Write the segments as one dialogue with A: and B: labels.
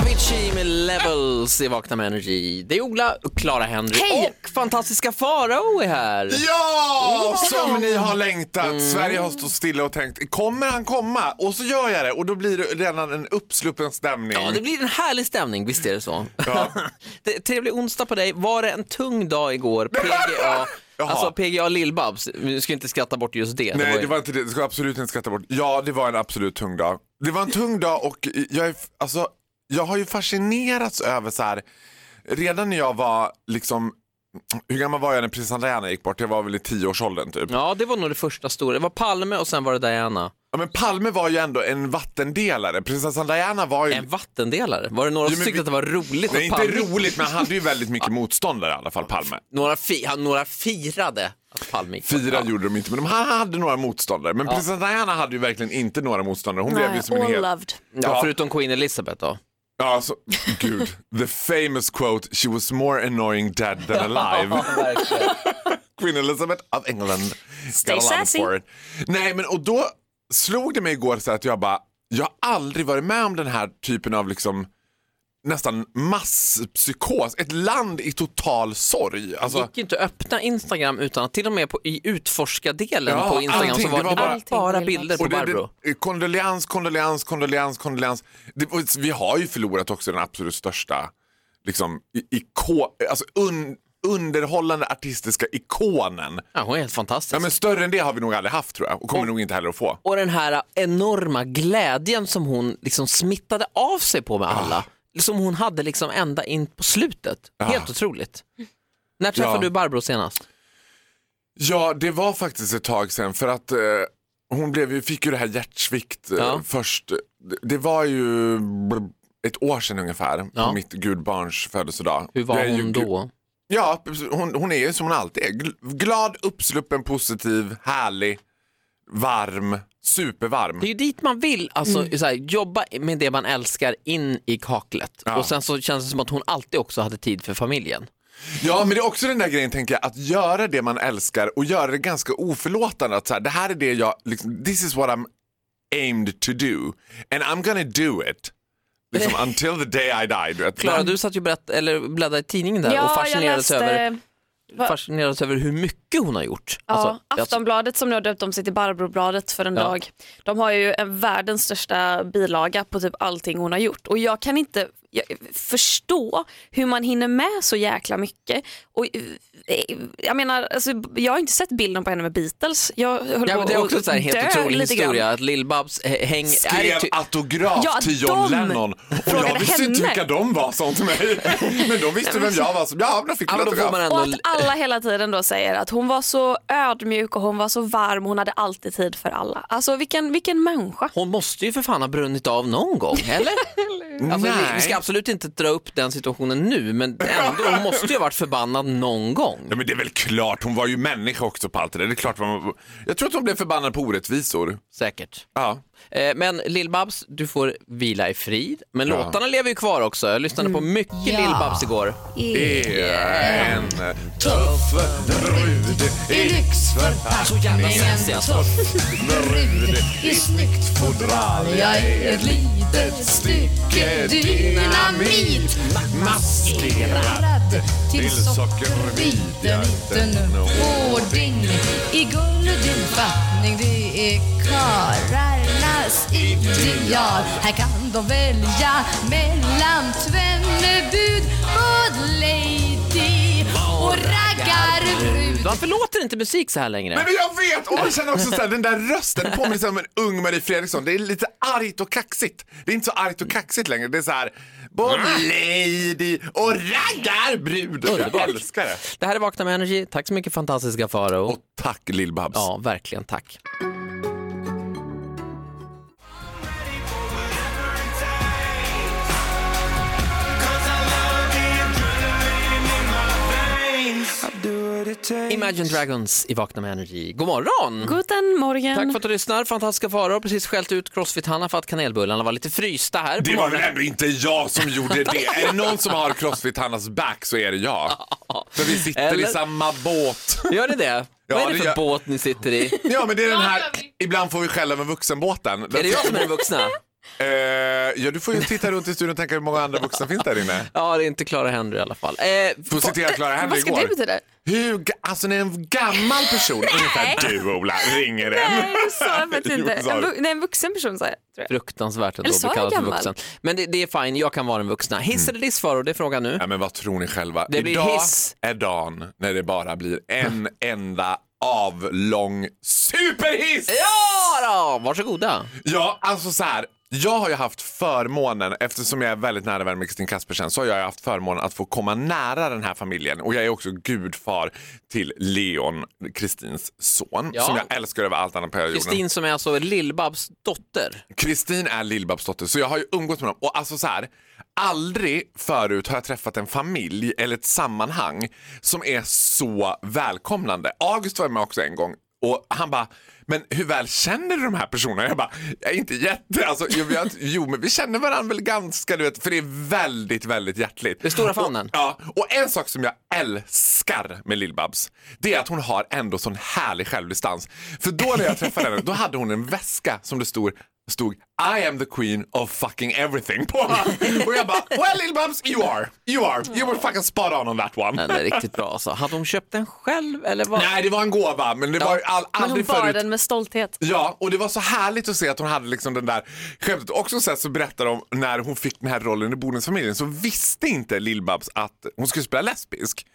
A: Avicii med Levels i Vakna med Energy. Det är Ola, Clara Henry och fantastiska Farao är här.
B: Ja! Som ni har längtat.
A: Mm.
B: Sverige har stått stilla och tänkt, kommer han komma? Och så gör jag det och då blir det redan en uppsluppen stämning.
A: Ja, det blir en härlig stämning, visst är det så?
B: Ja.
A: det, trevlig onsdag på dig. Var det en tung dag igår? PGA,
B: Jaha.
A: alltså PGA Lill-Babs, vi ska inte skratta bort just det.
B: Nej,
A: ju-
B: det var inte det. Det ska jag absolut inte skratta bort. Ja, det var en absolut tung dag. Det var en tung dag och jag, är, alltså, jag har ju fascinerats över så här, redan när jag var liksom, hur gammal var jag när prinsessan Diana gick bort? Jag var väl i tioårsåldern typ.
A: Ja, det var nog det första stora. Det var Palme och sen var det Diana.
B: Ja, men Palme var ju ändå en vattendelare. Prinsessan Diana var ju...
A: En vattendelare. Var det några
B: Jo,
A: som
B: men
A: tyckte
B: vi-
A: att det var roligt
B: Nej,
A: att
B: inte
A: Palme...
B: roligt, men han hade ju väldigt mycket motståndare i alla fall, Palme.
A: Några, fi... han- några firade att Palme gick bort.
B: Fyra
A: Ja.
B: gjorde de inte, men de här hade några motståndare. Men prinsessan Diana hade ju verkligen inte några motståndare. Hon blev ju som en
C: all
B: hel...
C: loved.
A: Ja, förutom Queen Elizabeth då.
B: Ja, alltså, gud. The famous quote, she was more annoying dead than alive. Queen Elizabeth of England. Stay
C: sassy.
B: Nej, men och då slog det mig igår så här att jag bara, jag har aldrig varit med om den här typen av liksom nästan masspsykos. Ett land i total sorg.
A: Det
B: Alltså,
A: gick ju inte att öppna Instagram utan att till och med på, i utforska-delen
B: Ja,
A: på Instagram
B: allting,
A: så var
B: det
A: det
B: var
A: bara,
B: bara-
A: bilder på
B: Och det,
A: Barbro.
B: det, kondoleans, kondoleans, kondoleans, kondoleans. Det, och vi har ju förlorat också den absolut största liksom, i- iko, alltså un, underhållande artistiska ikonen.
A: Ja, hon är helt fantastisk.
B: Ja, men större än det har vi nog aldrig haft tror jag och kommer nog inte heller att få.
A: Och den här enorma glädjen som hon liksom smittade av sig på
B: Ah.
A: med alla. Som hon hade liksom ända in på slutet. Helt otroligt. När träffade
B: Ah. Ja.
A: du Barbro senast?
B: Ja, det var faktiskt ett tag sedan för att eh, hon blev, ju- fick ju det här hjärtsvikt eh,
A: Ja.
B: först. Det, det var ju br- ett år sedan ungefär
A: Ja.
B: på mitt gudbarns födelsedag.
A: Hur var
B: Jag är ju
A: hon
B: gu-
A: då?
B: Ja, hon, hon är ju som hon alltid är. Gl- Glad, uppsluppen, positiv, härlig, varm, supervarm.
A: Det är ju dit man vill, alltså
B: Mm.
A: så här, jobba med det man älskar in i kaklet.
B: Ja.
A: Och sen så känns det som att hon alltid också hade tid för familjen.
B: Ja, men det är också den där grejen, tänker jag, att göra det man älskar och göra det ganska oförlåtande. Att så här, det här är det jag, liksom, this is what I'm aimed to do and I'm gonna do it. Liksom, until the day I die. Du vet.
A: Klara, du satt ju och berätt, eller bläddrade i tidningen där och fascinerades över
C: Va-
A: fascinerades över hur mycket hon har gjort.
C: Ja,
A: Alltså, jag-
C: Aftonbladet som nu har döpt om sig till Barbrobladet för en
A: Ja.
C: dag. De har ju en världens största bilaga på typ allting hon har gjort och jag kan inte jag, förstå hur man hinner med så jäkla mycket. Och, eh, jag menar, alltså, jag har inte sett bilden på henne med Beatles. Jag höll
A: ja,
C: på
A: men det är också
C: att
A: så här en
C: dö
A: helt otrolig
C: lite grann.
A: historia att Lill-Babs eh, häng... är
B: Skrev
A: det ty-
B: autograf
C: Ja,
B: till John
C: de
B: Lennon. Och
C: frågade
B: jag visste inte
C: henne.
B: vilka de var, sa hon till mig. Men de visste vem jag var. Så, ja, men då fick
A: ja,
B: hon
A: men då får
B: autograf.
A: man
C: Och
A: ändå...
C: att alla hela tiden då säger att hon var så ödmjuk och hon var så varm och hon hade alltid tid för alla. Alltså vilken, vilken människa.
A: Hon måste ju för fan ha brunnit av någon gång, eller? alltså, vi- vi
B: Nej.
A: ska absolut inte dra upp den situationen nu, men ändå, hon måste ju ha varit förbannad någon gång.
B: Ja, men det är väl klart, hon var ju människa också på allt det där. Det är klart man... Jag tror att hon blev förbannad på orättvisor.
A: Säkert.
B: Ja.
A: Eh, Men Lill-Babs, du får vila i frid. Men låtarna lever ju kvar också. Jag lyssnade på
C: Mm.
A: mycket Lill-Babs igår.
B: Är en tuff brud i lyxförpackning.
A: jävla sexig alltså.
B: brud i snyggt fodral. Jag är ett litet stycke dynamit. Maskerad till sockerbit. Jag är inte nog.
D: Ordning i guld och din fattning Det är karlarnas ideal Här kan de välja mellan tvenne bud Både lady och raggarbrud
A: Varför låter inte musik så här längre?
B: Nej, men jag vet! Och jag känner också såhär, den där rösten påminner sig om en ung Marie Fredriksson. Det är lite argt och kaxigt. Det är inte så argt och kaxigt längre. Det är såhär, både lady och raggarbrud.
A: Underbart.
B: Jag älskar det.
A: Det här är Vakna med Energy. Tack så mycket fantastiska Faro.
B: Och tack Lill-Babs.
A: Ja, verkligen. Tack. Imagine Dragons i Vakna med Energy. God morgon!
C: Guten morgen.
A: Tack för att du lyssnar. Fantastiska faror har precis skällt ut Crossfit-Hanna för att kanelbullarna var lite frysta här på
B: Det var väl
A: morgonen.
B: ändå inte jag som gjorde det. är det någon som har Crossfit-Hannas back så är det jag. För vi sitter i
A: Eller-
B: samma båt.
A: Gör ni det? Vad är det
B: det
A: för
B: gör-
A: båt ni sitter i?
B: Ja men det är den här, ibland får vi skäll över vuxenbåten.
A: Är det jag som är den vuxna?
B: Eh, ja du får ju titta runt i studion och tänka hur många andra vuxna finns där inne.
A: Ja, det är inte Clara Henry i alla fall. Eh,
B: Får citera Clara Henry
C: Vad ska
B: igår.
C: det betyda?
B: Hur, ga- alltså när en gammal person, ungefär du Ola, ringer en.
C: Nej, det sa jag faktiskt inte.
B: Jo, sa
C: En,
B: du.
C: vu- nej, en vuxen person sa jag. Tror jag.
A: fruktansvärt ändå
C: Eller
A: att
C: sa
A: bli
C: jag
A: kallad för
C: gammal?
A: vuxen. Men det, det är fine, jag kan vara den vuxna. Hiss eller diss faror, det är frågan nu.
B: Mm. Ja, men vad tror ni själva?
A: Det blir
B: Idag
A: hiss.
B: är dagen när det bara blir en enda avlång superhiss!
A: Ja då, varsågoda.
B: Ja, alltså så här. Jag har ju haft förmånen, eftersom jag är väldigt nära vän med Kristin Kaspersen, så har jag haft förmånen att få komma nära den här familjen. Och jag är också gudfar till Leon, Kristins son,
A: Ja.
B: som jag älskar över allt annat på hela jorden.
A: Kristin som är alltså Lill-Babs dotter.
B: Kristin är Lill-Babs dotter, så jag har ju umgåtts med dem. Och alltså så här, aldrig förut har jag träffat en familj eller ett sammanhang som är så välkomnande. August var med också en gång och han bara, men hur väl känner du de här personerna? Jag bara, jag är inte jätte, alltså, jo, vi har, inte- jo men vi känner varandra väl ganska, du vet, för det är väldigt, väldigt hjärtligt.
A: Det är stora famnen.
B: Ja, och en sak som jag älskar med Lill-Babs, det är att hon har ändå sån härlig självdistans. För då när jag träffade henne, då hade hon en väska som det stod, stod I am the queen of fucking everything på. Och jag bara, well Lill-Babs, you are, you are, you were fucking spot on on that one.
A: Den är riktigt bra alltså. Hade hon köpt den själv eller vad?
B: Nej, det var en gåva, men det var ju all,
C: Men hon
B: aldrig
C: bar
B: förut.
C: den med stolthet.
B: Ja, och det var så härligt att se att hon hade liksom den där skämtet. Också sen så berättar de när hon fick den här rollen i Bodensfamiljen så visste inte Lill-Babs att hon skulle spela lesbisk.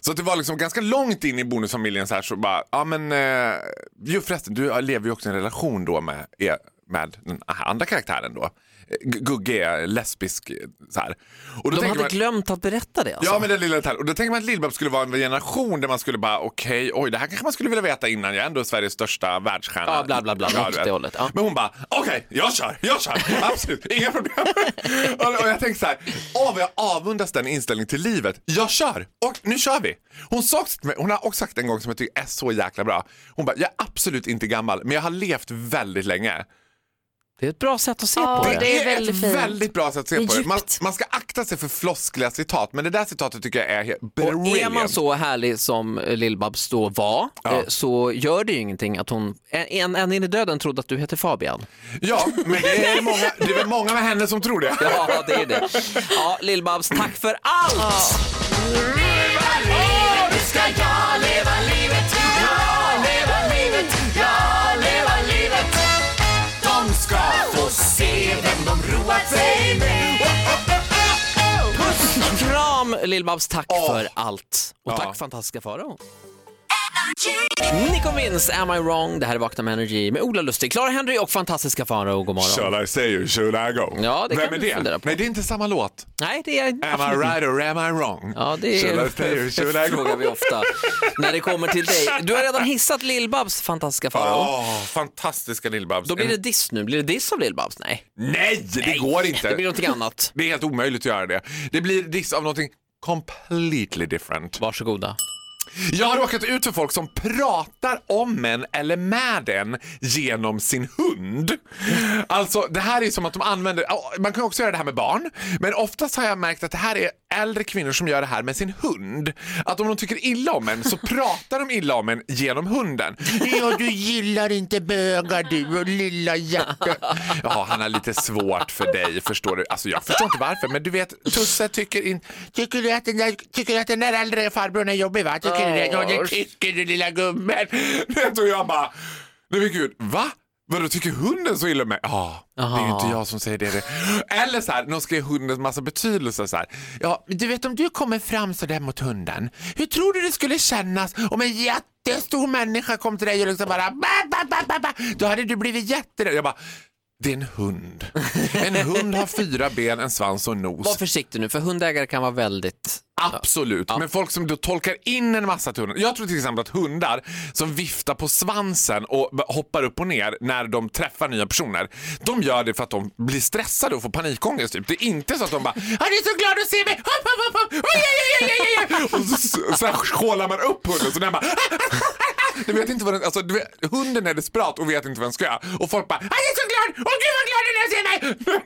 B: Så att det var liksom ganska långt in i Bonusfamiljen så här så bara, ja men, eh, ju förresten du lever ju också i en relation då med, er- med den här andra karaktären då. Eh, G- Gugge är lesbisk eh, så här. Och då
A: De
B: tänker
A: hade
B: man-
A: glömt att berätta det alltså.
B: Ja, men den lilla detaljen. Och då tänker man att Lill-Babs skulle vara en generation där man skulle bara, okej, oj, det här kanske man skulle vilja veta innan. Jag är ändå Sveriges största världsstjärna.
A: Ja, bla, bla, bla,
B: Ja,
A: något
B: du
A: åt
B: vet.
A: det hållet, ja.
B: Men hon bara, okej, jag kör, jag kör, absolut, inga problem. och, och jag tänkte så här, åh vad jag avundas den inställningen till livet. Jag kör, och nu kör vi. Hon, sa också till mig, hon har också sagt en gång som jag tycker är så jäkla bra. Hon bara, jag är absolut inte gammal, men jag har levt väldigt länge.
A: Det är ett bra sätt att se
C: Ja,
A: på det.
C: det- är väldigt
B: ett
C: fint.
B: väldigt bra sätt att se
C: Det är
B: på det. Man,
C: djupt.
B: man ska akta sig för floskliga citat, men det där citatet tycker jag är helt
A: Och är
B: brilliant.
A: man så härlig som Lill-Babs då var
B: Ja.
A: eh, så gör det ju ingenting att hon, en, en in i döden trodde att du hette Fabian.
B: Ja, men det är, många, det är väl många med henne som tror det.
A: Ja, det är det. Ja, Lill-Babs, tack för allt!
B: De ska få se vem de roat sig med.
A: Kram Lill-Babs, tack
B: Åh.
A: för allt. Och
B: Ja.
A: tack fantastiska Farao. Nico Mins, Am I wrong? Det här är Vakna med Energy med Ola Lustig, Clara Henry och fantastiska Farao. God morgon.
B: Should I say you, should I go?
A: Ja, det
B: vem
A: kan
B: är
A: du
B: det?
A: fundera på.
B: Nej, det är inte samma låt.
A: Nej, det är
B: Am I right or am I wrong?
A: Ja, det
B: Should I say you, should I
A: frågar vi
B: go?
A: ofta när det kommer till dig. Du har redan hissat Lill-Babs fantastiska Farao.
B: Åh, fantastiska Lill-Babs.
A: Då blir det diss nu. Blir det diss av Lill-Babs? Nej,
B: Nej, det går inte.
A: det blir någonting annat.
B: Det är helt omöjligt att göra det. Det blir diss av någonting completely different.
A: Varsågoda.
B: Jag har råkat ut för folk som pratar om en eller med en genom sin hund. Alltså det här är som att de använder, ja, man kan också göra det här med barn, men oftast har jag märkt att det här är äldre kvinnor som gör det här med sin hund. Att om de tycker illa om en så pratar de illa om en genom hunden. Ja, du gillar inte bögar du och lilla hjärta. Ja, han har lite svårt för dig, förstår du. Alltså jag förstår inte varför, men du vet, Tusse tycker inte... Tycker du att den där, Eh, tycker du att den där äldre farbrorn är jobbig va? Tycker du det? Ja, det tycker du lilla gubben. Vet du, Och jag bara, nej men gud, va? Vadå, tycker hunden så illa om mig? Ja, det är ju inte jag som säger det. det. Eller så här, någon skrev hundens massa betydelser så här. Ja, men du vet om du kommer fram så där mot hunden, hur tror du det skulle kännas om en jättestor människa kom till dig och liksom bara ba, ba, ba, ba, ba. Då hade du blivit jätterädd. Jag bara, Det är en hund. En hund har fyra ben, en svans och en nos.
A: Var försiktig nu, för hundägare kan vara väldigt...
B: Absolut, men folk som då tolkar in en massa till hundar. Jag tror till exempel att hundar som viftar på svansen och b- hoppar upp och ner när de träffar nya personer, de gör det för att de blir stressade och får panikångest. Typ. Det är inte så att de bara ah, “du är så glad att se mig, hopp, hopp, hopp, hopp. Oj, oj, oj, oj, oj, oj. Och så, så, så här skålar man upp hunden så den bara "Ah, ah, ah, ah." du vet inte vad den, alltså, du vet, hunden är desperat och vet inte vad den ska göra. Och folk bara “ah, jag är så glad, åh gud vad glad den är att se mig!”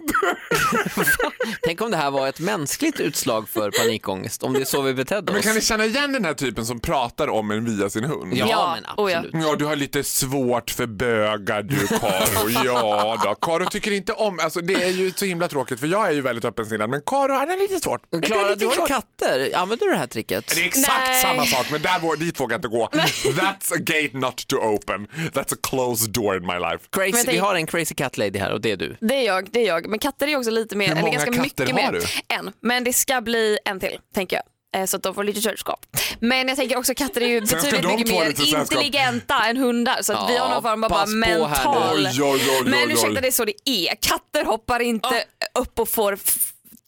A: Tänk om det här var ett mänskligt utslag för panikångest, om det är så vi betedde
B: Men
A: oss.
B: kan ni känna igen den här typen som pratar om en via sin hund?
A: Ja,
C: Ja,
A: men
C: oh ja.
A: absolut.
B: Ja, du har lite svårt för bögar du Karo. Ja då. Karo tycker inte om, alltså det är ju så himla tråkigt för jag är ju väldigt öppensinnad men Karo han är lite svårt.
A: Klara, du har ju katter. Använder du det här tricket?
B: Det är exakt
C: Nej.
B: samma sak men där, vå- dit vågar jag inte gå. That's a gate not to open. That's a closed door in my life.
A: Crazy,
C: Men tänk-
A: vi har en crazy cat lady här och det är du.
C: Det är jag, det är jag. Men katter är också lite mer,
B: Hur många
C: eller
B: katter
C: ganska mycket
B: har
C: mer.
B: du?
C: En. Men det ska bli en till, tänker jag. Eh, Så att de får lite sällskap. Men jag tänker också katter är ju
B: ska
C: betydligt
B: de
C: mycket
B: få
C: mer
B: lite sällskap.
C: intelligenta än hundar. Så att vi har
A: Ja,
C: någon form av bara
A: pass på här nu.
C: mental...
B: Oj, oj, oj, oj,
C: Men
B: oj.
C: ursäkta, det är så det är. Katter hoppar inte upp och får f-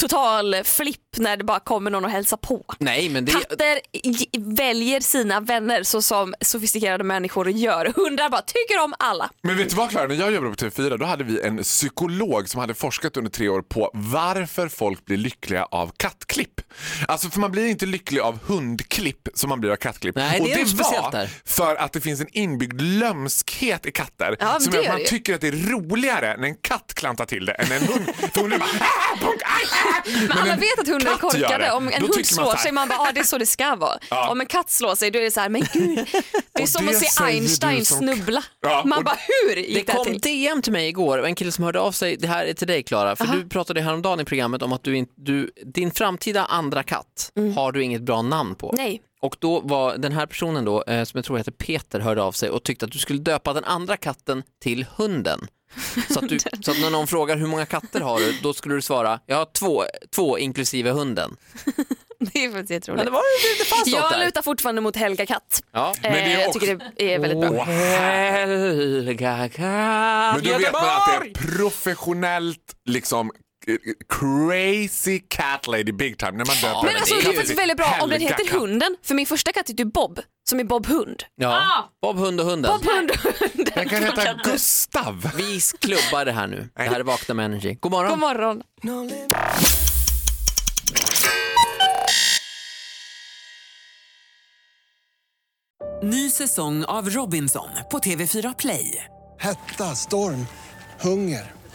C: total flipp när det bara kommer någon och hälsar på.
A: Nej, men det är...
C: Katter j- väljer sina vänner så som sofistikerade människor gör. Hundar bara tycker om alla.
B: Men vet du vad Klara, när jag jobbade på TV4 då hade vi en psykolog som hade forskat under tre år på varför folk blir lyckliga av kattklipp. Alltså för man blir inte lycklig av hundklipp som man blir av kattklipp.
A: Nej,
B: och
A: det är något speciellt
B: var
A: där.
B: för att det finns en inbyggd lömskhet i katter
C: men
B: som
C: det
B: gör att
C: gör
B: man
C: det ju.
B: tycker att det är roligare när en katt klantar till det än en hund. för hunden bara ah, punk, aj, ah. Men,
C: Men alla
B: en
C: vet att hundar är
B: katt gör
C: korkade.
B: det.
C: Om en
B: Då
C: hund
B: tycker man
C: slår
B: så här,
C: sig, man bara ah, det är så det ska vara.
B: Ja.
C: Om en katt slår sig då är det så här, men gud. Det är
B: Och
C: som
B: det
C: att
B: säger
C: se
B: du
C: Einstein
B: som-
C: snubbla.
B: Ja, och-
C: Man bara hur gick
A: Det
C: det här
A: kom
C: till?
A: DM till mig igår, en kille som hörde av sig, det här är till dig Klara, för du pratade häromdagen i programmet om att du, inte- du, din framtida andra katt har du inget bra namn på.
C: Nej.
A: Och då var den här personen då, eh, som jag tror heter Peter, hörde av sig och tyckte att du skulle döpa den andra katten till hunden. Så att, du, så att när någon frågar hur många katter har du, då skulle du svara, jag har två, två inklusive hunden.
C: Det är faktiskt
A: Men
C: jätteroligt.
A: det, var, det, det fanns något
C: Jag
A: där.
C: lutar fortfarande mot Helga Katt.
A: Ja.
C: Eh,
B: det är
C: jag
B: också-
C: tycker det är väldigt bra.
A: Åh, Helga katt
B: Men då vet man att det
A: Göteborg!
B: är professionellt liksom eh, crazy cat lady big time när man döper
C: Men
B: den
C: alltså
B: till
C: det är faktiskt väldigt bra om den
B: Helga
C: heter
B: Katt.
C: hunden. För min första katt heter ju Bob, som är Bob Hund.
A: Ja. Bob, hund och hunden.
C: Ah! Bob Hund och hunden.
B: Den kan heta Gustav.
A: Vi klubbar det här nu. Det här är Vakna med Energy. God morgon.
C: God morgon.
E: Ny säsong av Robinson på TV4 Play.
F: Hetta, storm, hunger.